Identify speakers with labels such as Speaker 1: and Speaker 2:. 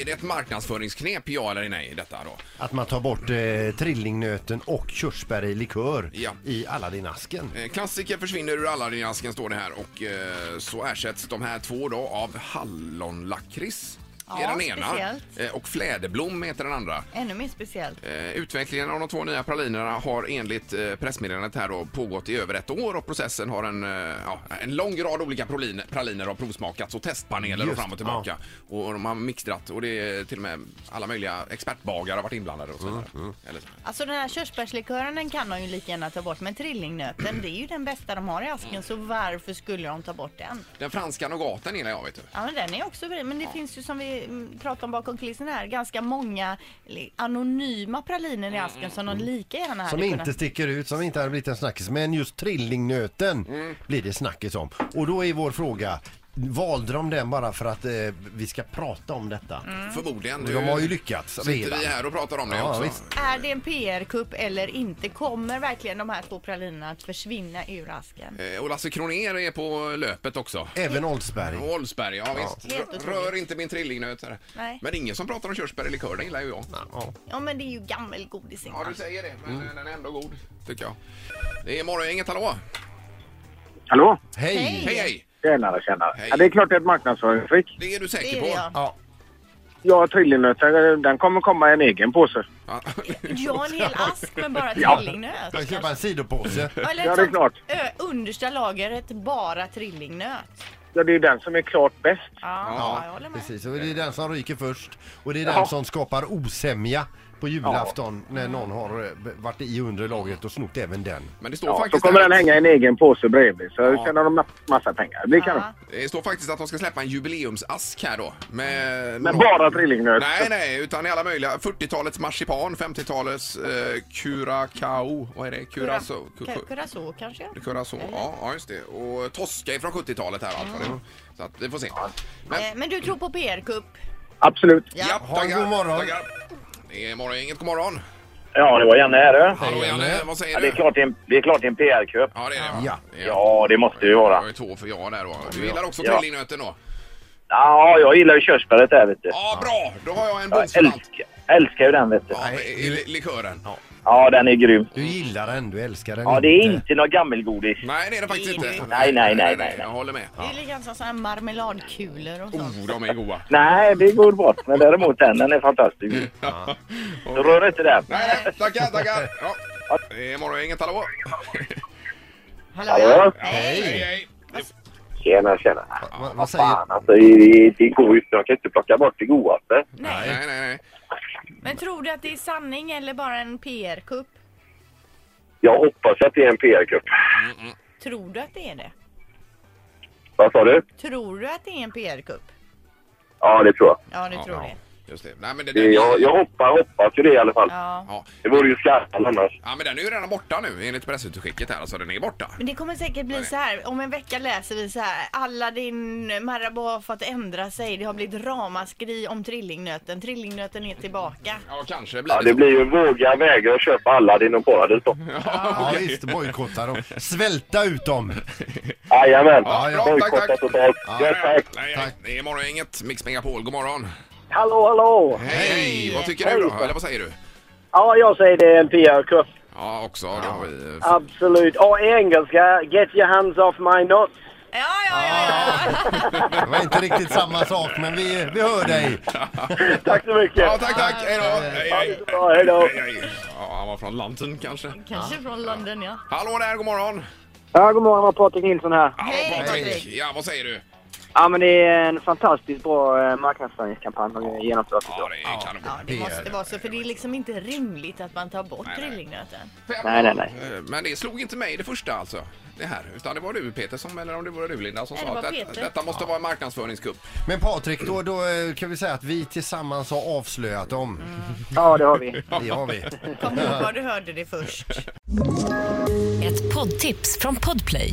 Speaker 1: Är det ett marknadsföringsknep, ja eller nej, detta då?
Speaker 2: Att man tar bort eh, trillingnöten och körsbär i likör
Speaker 1: Ja.
Speaker 2: i Aladdin-asken.
Speaker 1: Eh, Klassiker försvinner ur Aladdin-asken står det här och eh, så ersätts de här två då av hallonlakrits.
Speaker 3: Ja,
Speaker 1: är den ena.
Speaker 3: speciellt.
Speaker 1: Eh, Och fläderblom heter den andra.
Speaker 3: Ännu mer speciellt.
Speaker 1: Eh, Utvecklingen av de två nya pralinerna har enligt eh, pressmeddelandet här då pågått i över ett år och processen har en, eh, ja, en lång rad olika praliner, praliner har provsmakats och testpaneler och
Speaker 2: Just,
Speaker 1: fram och tillbaka. Och, och de har mixtrat och det är till och med alla möjliga expertbagare har varit inblandade och så vidare. Eller så.
Speaker 3: Alltså den här körsbärslikören den kan de ju lika gärna ta bort men trillingnöten det är ju den bästa de har i asken så varför skulle de ta bort den?
Speaker 1: Den franska nougaten gillar jag vet du.
Speaker 3: Ja men den är också bra men det finns ju som vi mm, pratade om bakom kulisserna här ganska många eller, anonyma praliner i asken som de lika gärna hade
Speaker 2: Som
Speaker 3: kunnat...
Speaker 2: inte sticker ut, som inte har blivit en snackis. Men just trillingnöten
Speaker 1: Mm.
Speaker 2: blir det snackis om. Och då är vår fråga, valde de den bara för att eh, vi ska prata om detta?
Speaker 1: Förmodligen.
Speaker 2: De har ju lyckats
Speaker 1: Mm. Sitter
Speaker 2: redan.
Speaker 1: vi här och pratar om det
Speaker 2: Ja,
Speaker 1: också.
Speaker 2: visst.
Speaker 3: Är det en PR-kupp eller inte? Kommer verkligen de här två pralinerna att försvinna ur asken?
Speaker 1: Eh, Och Lasse Kronér är på löpet också.
Speaker 2: Även Oldsberg.
Speaker 1: Och Oldsberg, ja, visst.
Speaker 3: Helt
Speaker 1: Rör-
Speaker 3: otroligt.
Speaker 1: Rör inte min trillingnöt. här.
Speaker 3: Nej.
Speaker 1: Men det är ingen som pratar om körsbär i likör, det gillar ju jag.
Speaker 3: Ja men det är ju gammelgodis
Speaker 1: Ja,
Speaker 3: Ingmar.
Speaker 1: du säger det, men
Speaker 2: Mm.
Speaker 1: eh, den är ändå god, tycker jag. Det är morgongänget, hallå!
Speaker 4: Hallå?
Speaker 2: Hej!
Speaker 3: Hej.
Speaker 1: Hej, hej!
Speaker 4: Tjenare, tjänare.
Speaker 1: Hej.
Speaker 4: Ja, det är klart det är ett marknadsföringsskick.
Speaker 1: Det är du säker
Speaker 3: Det är
Speaker 1: på?
Speaker 3: det, ja.
Speaker 2: Ja,
Speaker 4: Ja,
Speaker 5: eh,
Speaker 4: trillingnöten, den kommer komma i en egen påse.
Speaker 1: Ja.
Speaker 3: Jag har en hel ask med bara trillingnöt.
Speaker 2: jag köper en sidopåse.
Speaker 3: Eller
Speaker 4: Ja, det
Speaker 3: sånt,
Speaker 4: är klart.
Speaker 3: ö, understa lagret bara trillingnöt.
Speaker 4: Ja, det är ju den som är klart bäst.
Speaker 3: Ja, ja, jag håller med.
Speaker 2: Precis, och det är den som ryker först. Och det är den som skapar osämja på julafton när någon har eh, varit i undre lagret och snott även den.
Speaker 1: Men det står,
Speaker 4: Ja, så
Speaker 1: faktiskt
Speaker 4: kommer
Speaker 1: här
Speaker 4: den hänga i en egen påse bredvid. Så tjänar de ma- massa pengar. Det blir kanon.
Speaker 3: Ja.
Speaker 1: att, det står faktiskt att de ska släppa en jubileumsask här då. Med,
Speaker 4: Men bara trillingnöt.
Speaker 1: Nej, nej, utan i alla möjliga. 40-talets marsipan, 50-talets eh, curacao. Vad är det? Curacao?
Speaker 3: Ka- Curacao kanske?
Speaker 1: Curacao, ja, ja just det. Och Tosca från 70-talet här allt vad det var. Så att vi får se. Men,
Speaker 3: Mm. Eh, Men du tror på PR-kupp?
Speaker 4: Absolut.
Speaker 3: Ja.
Speaker 1: ja,
Speaker 2: Ha en
Speaker 1: tackar,
Speaker 2: god morgon.
Speaker 1: tackar. Det är morgongänget, god morgon.
Speaker 5: Ja, det var Janne här. du.
Speaker 1: Hallå
Speaker 2: Janne.
Speaker 1: Janne, vad säger
Speaker 5: Ja,
Speaker 1: du?
Speaker 5: det, är klart det, är en, det är klart det är en PR-köp.
Speaker 1: Ja, det är det va?
Speaker 2: Ja.
Speaker 5: Ja, det måste det ju
Speaker 1: Jag
Speaker 5: vara.
Speaker 1: är två för ja där då. Du gillar också
Speaker 5: Ja.
Speaker 1: trillingnöten då?
Speaker 5: Ja, jag gillar ju körsbäret där vet du.
Speaker 1: Ja, bra! Då har jag en
Speaker 5: Jag
Speaker 1: bundsförvant.
Speaker 5: älskar, älskar ju den vet du.
Speaker 1: Ja, i- i li- likören.
Speaker 5: Ja, den är grym.
Speaker 2: Du gillar den, du älskar den
Speaker 5: Mm. Ja, det
Speaker 1: Mm.
Speaker 5: är inte något gammelgodis.
Speaker 1: Nej, det är det faktiskt inte.
Speaker 5: nej, nej, nej, nej.
Speaker 1: Jag håller med.
Speaker 3: Det är liksom sådana här marmeladkulor och sånt.
Speaker 1: Oh, de är goda.
Speaker 5: Nej, det går bort. Men däremot den, den är fantastisk. Så rör inte den.
Speaker 1: Mm. Nej, nej, tackar, tackar. Ja. Det är morgongänget, hallå!
Speaker 3: Hallå?
Speaker 5: Hallå?
Speaker 1: Hej, hej!
Speaker 3: Alltså,
Speaker 5: Tjena, tjena.
Speaker 2: Vad, vad säger...
Speaker 5: alltså det, det går ju Jag kan inte plocka bort det godaste.
Speaker 3: Nej.
Speaker 1: Nej, nej, nej.
Speaker 3: Men tror du att det är sanning eller bara en PR-kupp?
Speaker 5: Jag hoppas att det är en PR-kupp.
Speaker 3: Tror du att det är det?
Speaker 5: Vad sa du?
Speaker 3: Tror du att det är en PR-kupp?
Speaker 5: Ja, det tror jag.
Speaker 3: Ja, du
Speaker 1: Ja,
Speaker 3: tror
Speaker 1: ja.
Speaker 3: det.
Speaker 1: Just det. Nej, men det,
Speaker 5: hoppas, hoppas ju det i alla fall.
Speaker 3: Ja.
Speaker 1: Ja.
Speaker 5: Det vore ju skarpt annars.
Speaker 1: Ja, men den är ju redan borta nu enligt pressutskicket här. Alltså den är borta.
Speaker 3: Men det kommer säkert bli så här, om en vecka läser vi så här, alla din Marabou har fått ändra sig, det har blivit ramaskri om trillingnöten, trillingnöten är tillbaka.
Speaker 1: Ja, kanske blir
Speaker 5: Ja, det blir ju våga vägra köpa alla din och Paradis då.
Speaker 2: Ja, visst, bojkotta dem. Svälta ut dem!
Speaker 5: Jajamän!
Speaker 1: Ja, ja, tack,
Speaker 5: Bojkotta
Speaker 1: tack.
Speaker 5: totalt. Ja, tack.
Speaker 1: Nej, nej. Det är morgongänget, Mix Megapol. God morgon!
Speaker 4: Hallå, hallå!
Speaker 1: Hej! Vad tycker du då? Eller vad säger du?
Speaker 4: Ja, jag säger det är en PR-kupp.
Speaker 1: Ja, också. Det har vi... eh,
Speaker 4: Absolut. Och engelska, get your hands off my nuts.
Speaker 3: Ja, ja, ja, ja.
Speaker 2: Det var inte riktigt samma sak, men vi, vi hör dig.
Speaker 4: Tack så mycket.
Speaker 1: Ja, tack, tack! Hej då! Hej, hej!
Speaker 4: Ja, hej då.
Speaker 1: Hej, hej. Ja, han var från London kanske.
Speaker 3: Kanske från London, ja.
Speaker 1: Hallå där, god morgon!
Speaker 4: Ja, god morgon, Patrik Nilsson här.
Speaker 1: Hallå,
Speaker 3: Hej,
Speaker 1: Patrik!
Speaker 3: Patrik.
Speaker 1: Ja, vad säger du?
Speaker 4: Ja, men det är en fantastiskt bra eh, marknadsföringskampanj som vi genomfört.
Speaker 1: Ja, det är kanon.
Speaker 3: Ja, det
Speaker 2: Det är
Speaker 3: måste vara så, för det är liksom inte rimligt att man tar bort
Speaker 1: Nej, nej.
Speaker 3: trillingnöten.
Speaker 1: Fem
Speaker 4: Nej, nej,
Speaker 1: år. Eh, Men det slog inte mig det första alltså. Det här. Utan det var du Peter som, eller om det var du Linda som
Speaker 3: Nej,
Speaker 1: sa
Speaker 3: det
Speaker 1: att
Speaker 3: var
Speaker 1: det-
Speaker 3: Peter.
Speaker 1: detta måste vara en marknadsföringskupp.
Speaker 2: Men Patrik, då, då eh, kan vi säga att vi tillsammans har avslöjat dem.
Speaker 4: Ja, det har vi.
Speaker 2: Det har vi.
Speaker 3: Kom ihåg var du hörde det först.
Speaker 6: Ett poddtips från Podplay.